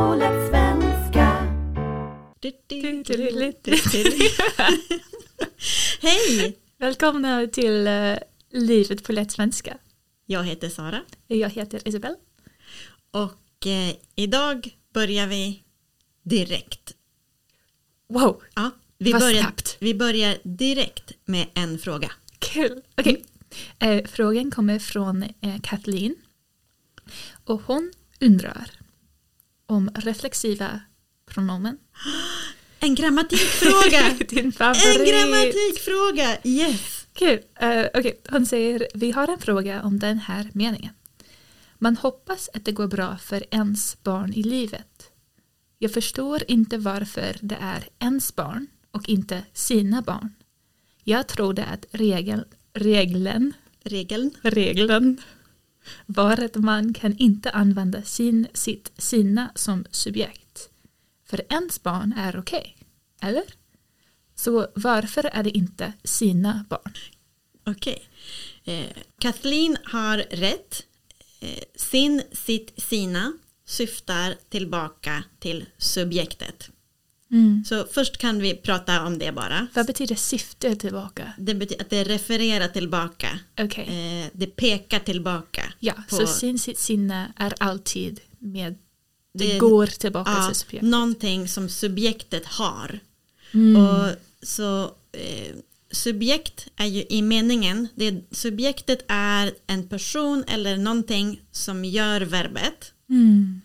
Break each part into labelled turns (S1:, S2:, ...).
S1: Hej!
S2: Välkomna till eh, Livet på lätt svenska.
S1: Jag heter Sara
S2: Jag heter Isabel.
S1: och eh, idag börjar vi direkt.
S2: Wow,
S1: Ja, vi,
S2: Vad
S1: börjar,
S2: snabbt.
S1: vi börjar direkt med en fråga.
S2: kul! Okej, eh, frågan kommer från eh, Kathleen. Och hon undrar om reflexiva pronomen.
S1: En grammatikfråga!
S2: Din
S1: en
S2: favorit!
S1: grammatikfråga! Yes!
S2: Kul! Eh, Okej, hon säger vi har en fråga om den här meningen. Man hoppas att det går bra för ens barn i livet. Jag förstår inte varför det är ens barn och inte sina barn. Jag trodde att regel, regeln,
S1: Regeln.
S2: regeln var att man kan inte använda sin, sitt, sina som subjekt. För ens barn är okej, eller? Så varför är det inte sina barn?
S1: Okej. Eh, Kathleen har rätt. Eh, sin, sitt, sina syftar tillbaka till subjektet.
S2: Mm.
S1: Så först kan vi prata om det bara.
S2: Vad betyder syfte tillbaka?
S1: Det betyder att det refererar tillbaka.
S2: Okej.
S1: Eh, det pekar tillbaka.
S2: Ja,
S1: på-
S2: så sin sitt sinne är alltid med. Det,
S1: Det-
S2: går tillbaka
S1: Eh, ja,
S2: till subjekt.
S1: någonting som subjektet har.
S2: Mm.
S1: Och så eh, subjekt är ju i meningen, det, subjektet är en person eller någonting som gör verbet.
S2: Mm.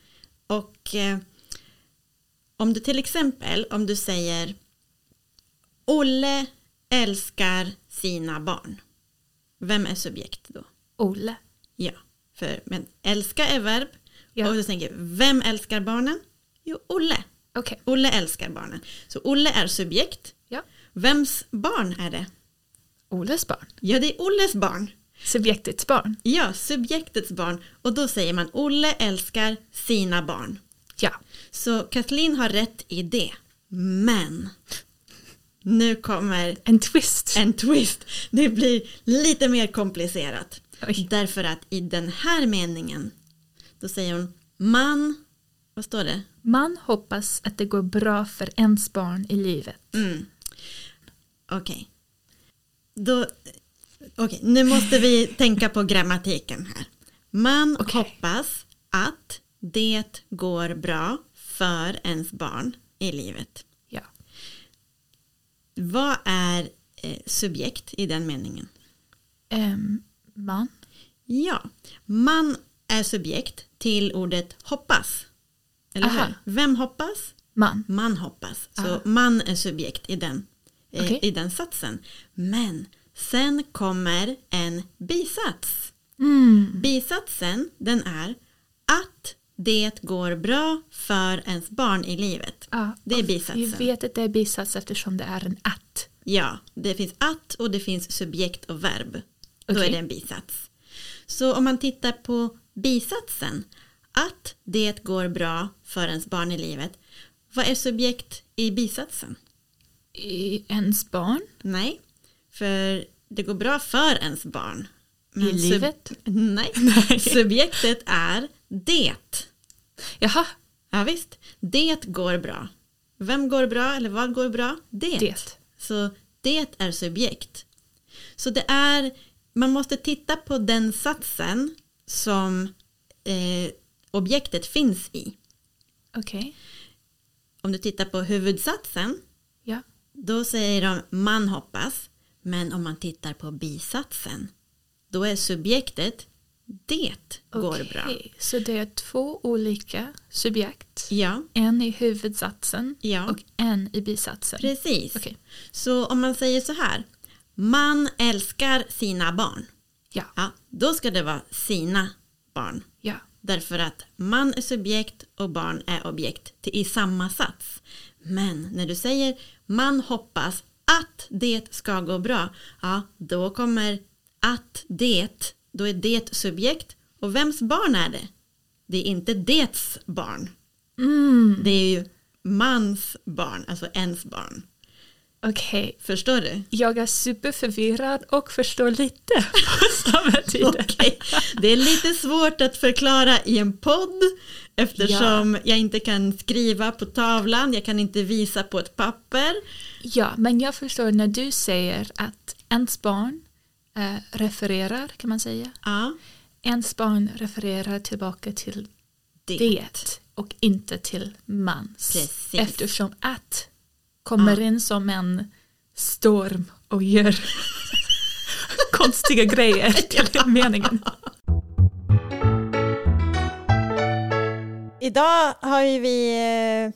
S1: Och eh, om du till exempel, om du säger Olle älskar sina barn. Vem är subjekt då?
S2: Olle.
S1: Ja, för men älska är verb.
S2: Ja.
S1: Och då tänker jag, vem älskar barnen? Jo, Olle.
S2: Okej.
S1: Olle älskar barnen. Så Olle är subjekt.
S2: Ja.
S1: Vems barn är det?
S2: Olles barn.
S1: Ja, det är Olles barn.
S2: Subjektets barn.
S1: Ja, subjektets barn. Och då säger man Olle älskar sina barn.
S2: Ja.
S1: Så Kathleen har rätt i det. Men nu kommer
S2: En twist.
S1: en twist. Det blir lite mer komplicerat.
S2: Oj.
S1: Därför att i den här meningen, då säger hon man, vad står det?
S2: Man hoppas att det går bra för ens barn i livet.
S1: Mm. Okej. Då, okej, nu måste vi tänka på grammatiken här. Man
S2: Okej.
S1: hoppas att det går bra för ens barn i livet.
S2: Ja.
S1: Vad är eh, subjekt i den meningen?
S2: Ehm, man.
S1: Ja, man är subjekt till ordet hoppas. Eller
S2: Aha.
S1: hur? Vem hoppas?
S2: Man.
S1: Man hoppas. Så
S2: Aha.
S1: man är subjekt i den, eh,
S2: Okej.
S1: i den satsen. Men sen kommer en bisats.
S2: Mm.
S1: Bisatsen den är att det går bra för ens barn i livet.
S2: Ja,
S1: Det är
S2: och
S1: bisatsen.
S2: Vi vet att det är bisats eftersom det är en att.
S1: Ja, det finns att och det finns subjekt och verb. Då
S2: Okej.
S1: är det en bisats. Så om man tittar på bisatsen, att det går bra för ens barn i livet. Vad är subjekt i bisatsen?
S2: I ens barn.
S1: Nej, för det går bra för ens barn.
S2: I livet?
S1: Nej. subjektet är det.
S2: Jaha,
S1: Ja, visst, det går bra. Vem går bra eller vad går bra? Det.
S2: det.
S1: Så det är subjekt. Så det är, man måste titta på den satsen som eh, objektet finns i.
S2: Okej.
S1: Om du tittar på huvudsatsen,
S2: Ja.
S1: då säger de man hoppas. Men om man tittar på bisatsen, då är subjektet det går
S2: Okej,
S1: bra.
S2: Så det är två olika subjekt.
S1: Ja,
S2: En i huvudsatsen
S1: Ja.
S2: och en i bisatsen.
S1: precis.
S2: Okej.
S1: Så om man säger så här, man älskar sina barn.
S2: Ja,
S1: Ja, då ska det vara sina barn.
S2: ja.
S1: Därför att man är subjekt och barn är objekt till- i samma sats. Men när du säger man hoppas att det ska gå bra, ja då kommer att det, då är det subjekt. Och vems barn är det? Det är inte dets barn.
S2: Mm,
S1: Det är ju mans barn, alltså ens barn.
S2: Okej,
S1: Förstår du?
S2: jag är superförvirrad och förstår lite på samma tid.
S1: Okej. Det är lite svårt att förklara i en podd
S3: Eftersom jag inte kan skriva på tavlan, jag kan inte visa på ett papper.
S2: Ja, men jag förstår när du säger att ens barn eh, refererar, kan man säga.
S3: Ja,
S2: Ens barn refererar tillbaka till
S3: det.
S2: det, och inte till mans.
S3: Precis.
S2: Eftersom att kommer in som en storm och gör konstiga grejer till meningen.
S1: Idag har ju vi eh,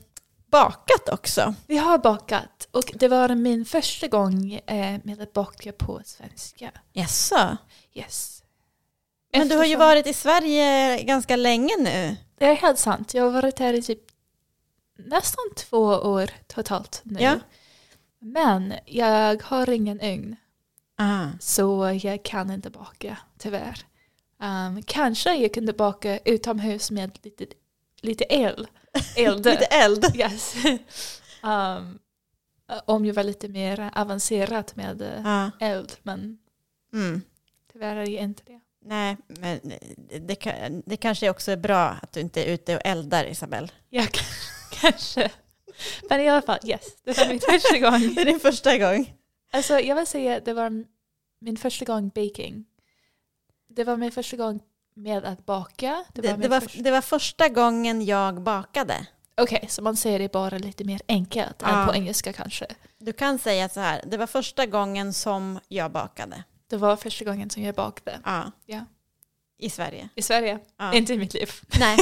S1: bakat också.
S2: Vi har bakat och det var min första gång eh, med att baka på svenska.
S1: Jaså?
S2: Yes.
S1: Men du har ju
S2: Eftersom-
S1: varit i Sverige ganska länge nu.
S2: Det är helt sant. Jag har varit här i typ nästan två år totalt nu.
S1: Ja.
S2: Men jag har ingen ugn
S1: Ah.
S2: så jag kan inte baka tyvärr. Ehm, kanske jag kunde baka utomhus med lite, lite el. Eld.
S1: Lite eld.
S2: yes. Ehm, om jag var lite mer avancerad med eh,
S1: Ja.
S2: eld. Men
S1: Mm.
S2: tyvärr är jag inte det.
S1: Nej, men det, kan- det kanske också är bra att du inte är ute och eldar, Isabel.
S2: Jag k- kanske. Men i alla fall, yes. Det var min första gång.
S1: Det är din första gång.
S2: Alltså jag vill säga att det var min första gång baking. Det var min första gång med att baka. Det var
S1: Det, det,
S2: min
S1: var,
S2: första-
S1: det var första gången jag bakade.
S2: Okej, så man säger det bara lite mer enkelt
S1: Ja.
S2: än på engelska kanske.
S1: Du kan säga så här, det var första gången som jag bakade.
S2: Det var första gången som jag bakade
S1: Ja.
S2: Ja.
S1: I Sverige.
S2: i Sverige.
S1: Ja.
S2: Inte i mitt liv.
S1: Nej.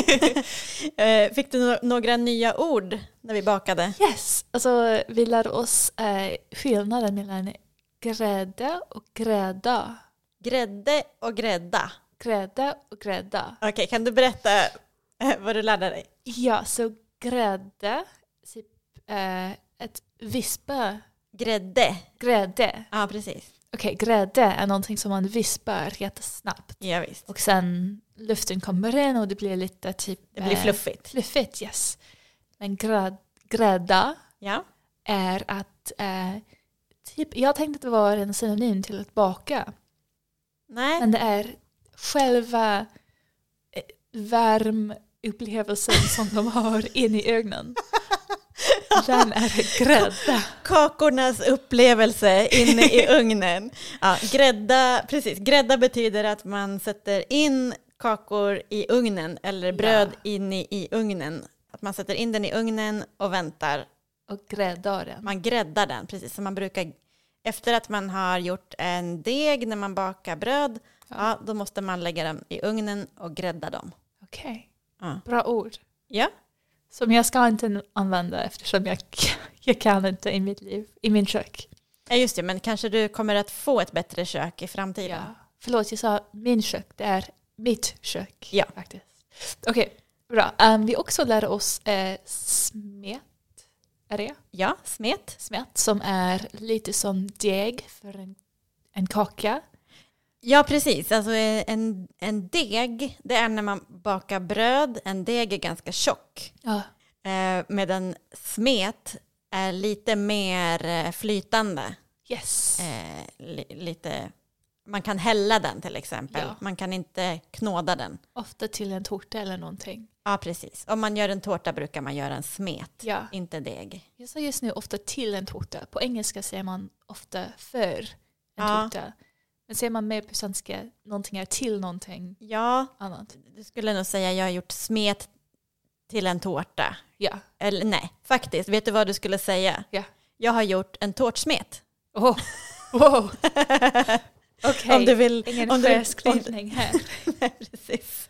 S1: Eh, Fick du no- några nya ord när vi bakade?
S2: Yes, alltså vi lärde oss eh, skillnaden mellan grädde och grädda.
S1: Grädde och grädda.
S2: Grädde och grädda.
S1: Okej, kan du berätta eh, vad du lärde dig?
S2: Ja, så grädde, typ eh, ett vispa
S1: Grädde.
S2: grädde.
S1: Ja, precis.
S2: Okej, grädde är någonting som man vispar jättesnabbt.
S1: Ja, visst.
S2: Och sen luften kommer in och det blir lite typ...
S1: Det blir
S2: eh,
S1: fluffigt.
S2: Fluffigt, yes. Men grä, grädda
S1: Ja.
S2: är att... Eh, typ, jag tänkte att det var en synonym till att baka.
S1: Nej.
S2: Men det är själva eh, varm upplevelsen som de har in i ögonen. Den är grädda.
S1: Kakornas upplevelse inne i ugnen. Ja, grädda, precis. grädda betyder att man sätter in kakor i ugnen eller bröd inne i ugnen. Att man sätter in den i ugnen och väntar.
S2: Och gräddar den.
S1: Man gräddar den, precis som man brukar. Efter att man har gjort en deg när man bakar bröd, ja. då måste man lägga dem i ugnen och grädda dem.
S2: Okej,
S1: Ja.
S2: bra ord.
S1: Ja,
S2: Som jag ska inte använda eftersom jag, jag kan inte i mitt liv, i min kök.
S1: Ja, just det, men kanske du kommer att få ett bättre kök i framtiden.
S2: Förlåt, jag sa min kök, det är mitt kök.
S1: Ja.
S2: Faktiskt. Okej, bra. Ehm, vi också lärde oss eh, smet, är det?
S1: Ja, smet.
S2: Smet som är lite som deg för en, en kaka.
S1: Ja, precis. Alltså eh, en, en deg, det är när man bakar bröd. En deg är ganska tjock.
S2: Ja.
S1: Eh, medan smet är lite mer eh, flytande.
S2: Yes.
S1: Eh, li, lite, man kan hälla den till exempel.
S2: Ja.
S1: Man kan inte knåda den.
S2: Ofta till en tårta eller någonting.
S1: Ja, precis. Om man gör en tårta brukar man göra en smet,
S2: Ja.
S1: inte deg.
S2: Jag sa just nu ofta till en tårta. På engelska säger man ofta för en
S1: Ja.
S2: tårta. Men säger man mer på svenska, någonting är till någonting
S1: Ja,
S2: annat.
S1: du skulle nog säga jag har gjort smet till en tårta.
S2: Ja.
S1: Eller nej, faktiskt. Vet du vad du skulle säga?
S2: Ja.
S1: Jag har gjort en tårtsmet.
S2: Oh. Wow. Okej.
S1: Om du vill...
S2: Ingen
S1: om du, om,
S2: förskrivning här.
S1: nej, precis.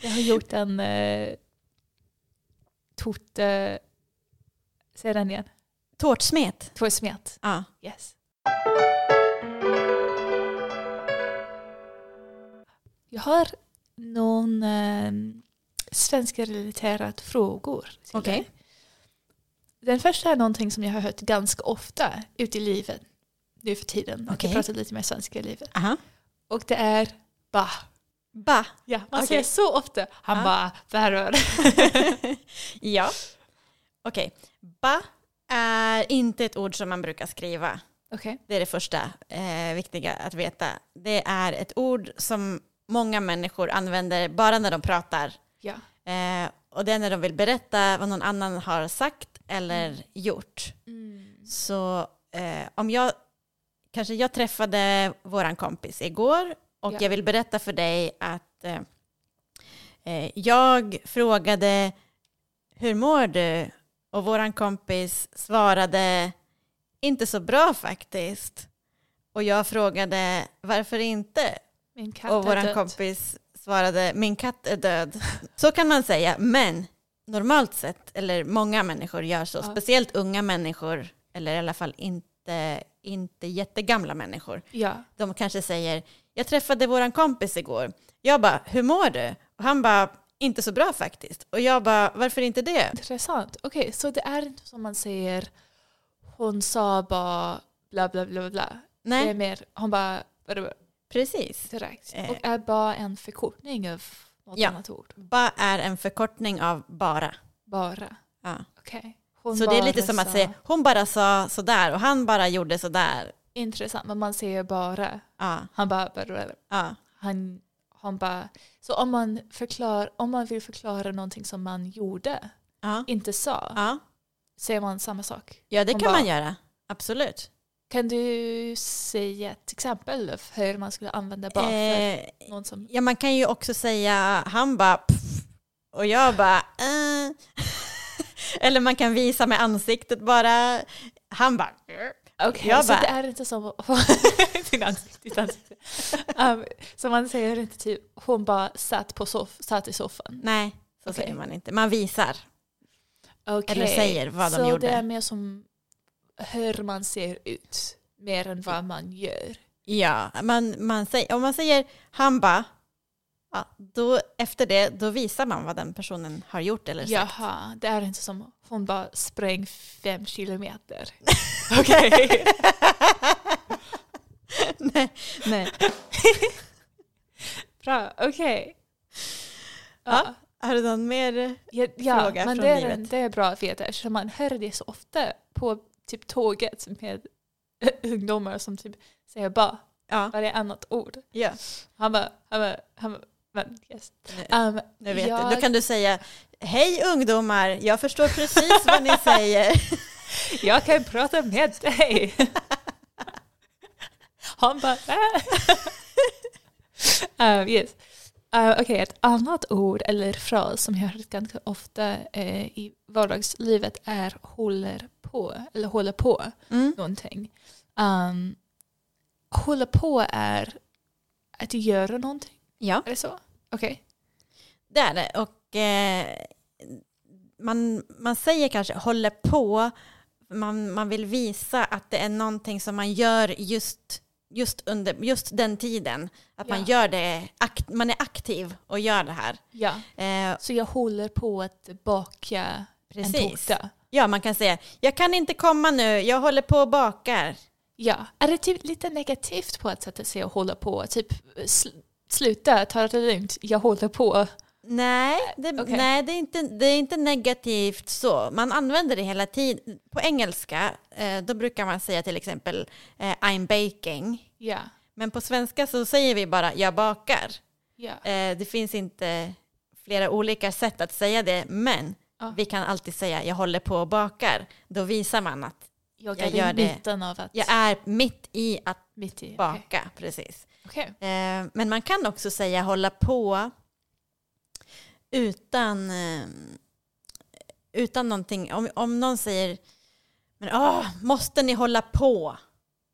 S2: Jag har gjort en eh, tårta... Säg den igen.
S1: Tårtsmet.
S2: Tårtsmet.
S1: Ja.
S2: Yes. Jag har någon eh, svenska relaterad frågor. till
S1: Okej.
S2: dig. Den första är någonting som jag har hört ganska ofta ute i livet nu för tiden. Att
S1: Okej.
S2: Jag pratar lite mer svenska i livet.
S1: Aha.
S2: Och det är ba.
S1: Ba.
S2: Ja, man
S1: Okej.
S2: säger så ofta. Han
S1: Ja.
S2: bara, värre.
S1: ja. Okej. Ba är inte ett ord som man brukar skriva.
S2: Okej.
S1: Det är det första eh, viktiga att veta. Det är ett ord som många människor använder bara när de pratar.
S2: Ja.
S1: Eh, Och det är när de vill berätta vad någon annan har sagt eller gjort.
S2: Mm.
S1: Så eh, om jag, kanske jag träffade våran kompis igår och
S2: Ja.
S1: jag vill berätta för dig att eh, eh, jag frågade hur mår du? Och våran kompis svarade inte så bra faktiskt. Och jag frågade varför inte?
S2: Min katt
S1: och
S2: är
S1: vår
S2: död.
S1: kompis svarade min katt är död. Så kan man säga, men normalt sett, eller många människor gör så,
S2: Ja.
S1: speciellt unga människor, eller i alla fall inte, inte jättegamla människor.
S2: Ja.
S1: De kanske säger, jag träffade våran kompis igår, jag bara, hur mår du? Och han bara, inte så bra faktiskt. Och jag bara, varför inte det?
S2: Intressant. Okej, så det är inte som man säger hon sa bara bla bla bla bla. Det är
S1: Nej,
S2: mer hon bara vadå,
S1: precis.
S2: direkt.
S1: Eh.
S2: Och är bara en förkortning av något
S1: Ja.
S2: annat ord.
S1: Ba är en förkortning av bara.
S2: Bara.
S1: Ja.
S2: Okej. Hon
S1: Så det är lite
S2: bara
S1: som att
S2: sa-
S1: säga, hon bara sa sådär och han bara gjorde sådär.
S2: Intressant, men man säger bara.
S1: Ja,
S2: Han bara vadå,
S1: ja.
S2: han, han bara, så om man, förklar, om man vill förklara någonting som man gjorde,
S1: Ja.
S2: inte sa,
S1: Ja.
S2: säger man samma sak.
S1: ja, det
S2: Hon
S1: kan
S2: bara-
S1: man göra. Absolut.
S2: Kan du säga ett exempel av hur man skulle använda bara för
S1: Eh,
S2: någon som...
S1: ja, man kan ju också säga han bara pff, och jag bara eh. Eller man kan visa med ansiktet bara. Han bara eh.
S2: Okej,
S1: jag
S2: så
S1: bara-
S2: det är inte som... Din ansikte, ditt ansikte. Um, så man säger inte typ, hon bara satt, på soff, satt i soffan.
S1: nej, så
S2: Okej.
S1: säger man inte. Man visar.
S2: Okej,
S1: Eller säger vad de
S2: så
S1: gjorde.
S2: det är mer som hur man ser ut, mer än vad man gör.
S1: Ja, man, man säger, om man säger han bara ja, då efter det då visar man vad den personen har gjort eller sagt.
S2: Jaha, det är inte som hon bara sprang fem kilometer.
S1: Okej. nej, nej.
S2: Bra, okej.
S1: Ja. Har du någon mer?
S2: Ja, ja
S1: Fråga
S2: men
S1: från
S2: det är, en,
S1: livet.
S2: det är bra att veta eftersom man hör det så ofta på typ tåget med ungdomar som typ säger bara
S1: Ja.
S2: varje annat ord.
S1: ja.
S2: Han bara, han bara, han bara, men yes.
S1: Nu-
S2: Um,
S1: Nu vet
S2: jag,
S1: du. Då kan du säga Hej ungdomar, jag förstår precis vad ni säger.
S2: jag kan prata med dig. han bara, um, yes. Uh, Okej, ett annat ord eller fras som jag hört ganska ofta eh, i vardagslivet är håller på, eller håller på.
S1: Mm.
S2: någonting. Um, hålla på är att göra någonting,
S1: Ja,
S2: är det så? Okej.
S1: det är det. Och eh, man, man säger kanske håller på, man, man vill visa att det är någonting som man gör just, just under just den tiden. Att man,
S2: Ja.
S1: gör det, akt, man är aktiv och gör det här.
S2: Ja.
S1: Eh,
S2: Så jag håller på att baka en
S1: precis.
S2: tårta.
S1: Ja, man kan säga jag kan inte komma nu, jag håller på och bakar.
S2: Ja. Är det typ lite negativt på ett sätt att säga hålla på? Typ sl- sluta, ta det lugnt, jag håller på.
S1: Nej, det,
S2: Eh, okej.
S1: nej det, är inte, det är inte negativt så. Man använder det hela tiden. På engelska eh, då brukar man säga till exempel eh, I'm baking.
S2: Ja.
S1: Men på svenska så säger vi bara jag bakar.
S2: Ja.
S1: Eh, det finns inte flera olika sätt att säga det men
S2: Ja.
S1: vi kan alltid säga jag håller på och bakar. Då visar man att
S2: Jag
S1: jag
S2: är
S1: gör
S2: i
S1: det.
S2: mitten av att...
S1: jag är mitt i att
S2: Mitt i. Okej.
S1: baka. Precis.
S2: Okej.
S1: Eh, men man kan också säga hålla på utan, eh, utan någonting. Om, om någon säger men åh, måste ni hålla på?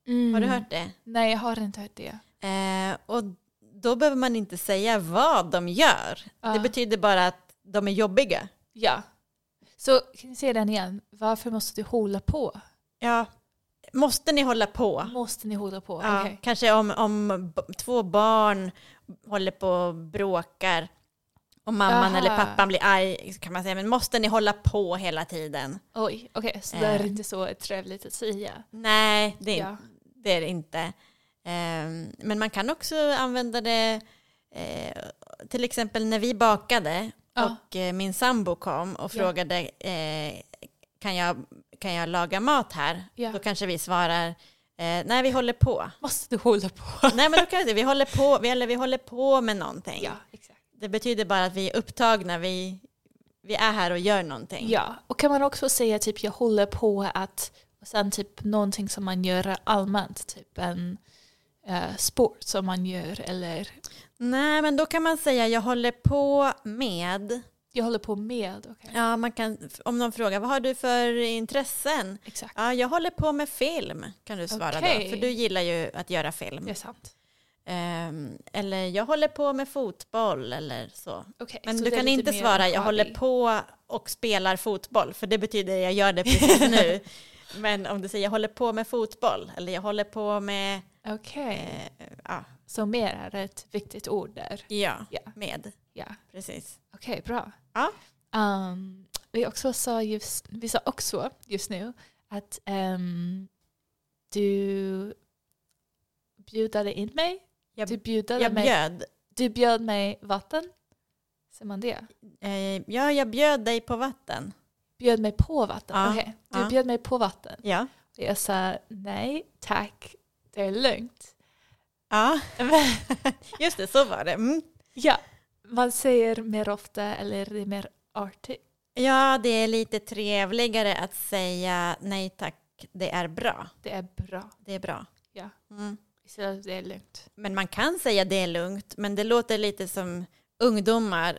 S2: Mm.
S1: Har du hört det?
S2: Nej, jag har inte hört det.
S1: Eh, och då behöver man inte säga vad de gör. Det
S2: Ah.
S1: betyder bara att de är jobbiga.
S2: Ja. Så kan ni se den igen? Varför måste du hålla på?
S1: Ja. Måste ni hålla på?
S2: Måste ni hålla på?
S1: Ja,
S2: Okej.
S1: Kanske om, om b- två barn håller på och bråkar och mamman
S2: Aha.
S1: eller pappan blir arg så kan man säga men måste ni hålla på hela tiden?
S2: Oj, okej, så det är
S1: Eh.
S2: inte så trevligt att säga.
S1: Nej, det är,
S2: Ja.
S1: det, är det inte. Ehm, men man kan också använda det eh, till exempel när vi bakade
S2: Ja.
S1: och eh, min sambo kom och
S2: Ja.
S1: frågade eh, kan, jag, kan jag laga mat här?
S2: Ja.
S1: Då kanske vi svarar eh, nej vi håller på.
S2: Måste du hålla på?
S1: Nej men då kan jag säga, vi håller på, vi, eller vi håller på med någonting.
S2: Ja, exakt.
S1: Det betyder bara att vi är upptagna, vi, vi är här och gör någonting.
S2: Ja, och kan man också säga typ jag håller på att, och sen typ någonting som man gör allmänt, typ en eh, sport som man gör eller
S1: Nej, men då kan man säga jag håller på med.
S2: jag håller på med. okej.
S1: Ja, man kan, om någon frågar vad har du för intressen?
S2: Exakt,
S1: Ja, jag håller på med film kan du svara då,
S2: Okej.
S1: för du gillar ju att göra film.
S2: det är sant.
S1: Ehm, eller jag håller på med fotboll eller så.
S2: Okej,
S1: Men
S2: så
S1: du
S2: det är
S1: kan
S2: lite
S1: inte
S2: mer
S1: svara
S2: en
S1: jag håller
S2: hobby.
S1: på och spelar fotboll för det betyder jag gör det precis nu. Men om du säger jag håller på med fotboll eller jag håller på med,
S2: Okej,
S1: eh, ja,
S2: så mer är ett viktigt ord där.
S1: ja,
S2: Ja.
S1: med,
S2: Ja,
S1: precis.
S2: okej, bra.
S1: Ja.
S2: Ehm, vi, också sa just, vi sa också just nu att ehm, du bjudade in mig.
S1: Jag-
S2: du, bjudade
S1: Jag
S2: mig
S1: bjöd,
S2: du bjöd mig vatten. Säger man det?
S1: eh, ja, jag bjöd dig på vatten.
S2: Bjöd mig på vatten.
S1: Ja,
S2: Okej, Du
S1: ja.
S2: bjöd mig på vatten.
S1: Ja.
S2: Och jag sa nej, tack, det är lugnt.
S1: ja,
S2: Men,
S1: just det, så var det. Mm.
S2: ja, man säger mer ofta eller det är mer artigt.
S1: Ja, det är lite trevligare att säga nej tack, det är bra.
S2: Det är bra.
S1: Det är bra.
S2: Ja.
S1: Mm.
S2: Istället för att det är lugnt.
S1: Men man kan säga det är lugnt, men det låter lite som ungdomar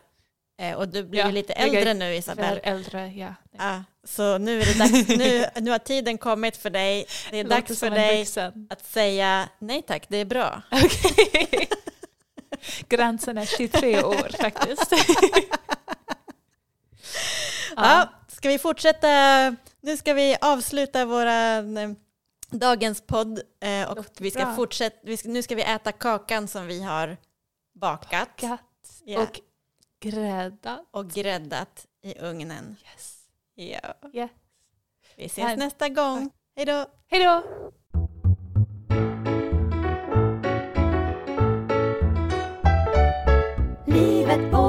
S1: eh, och du blir
S2: Ja,
S1: ju lite
S2: jag är
S1: äldre nu
S2: För
S1: Isabel.
S2: äldre, ja.
S1: Ja, så nu är det dags, nu, nu har tiden kommit för dig. Det är
S2: låter
S1: dags
S2: som
S1: för
S2: en
S1: dig
S2: vuxen.
S1: att säga nej tack, det är bra.
S2: Okej. Gränsen är 23 år faktiskt.
S1: Ja, ska vi fortsätta? Nu ska vi avsluta våra eh, dagens podd eh, och
S2: Låter
S1: vi ska
S2: bra.
S1: fortsätta, vi ska, nu ska vi äta kakan som vi har bakat
S2: Katt
S1: Ja,
S2: och grädda.
S1: och gräddat i ugnen.
S2: Yes.
S1: Ja.
S2: Ja.
S1: Vi ses
S2: Här.
S1: nästa gång. Hej då!
S2: Hej då!
S4: Livet på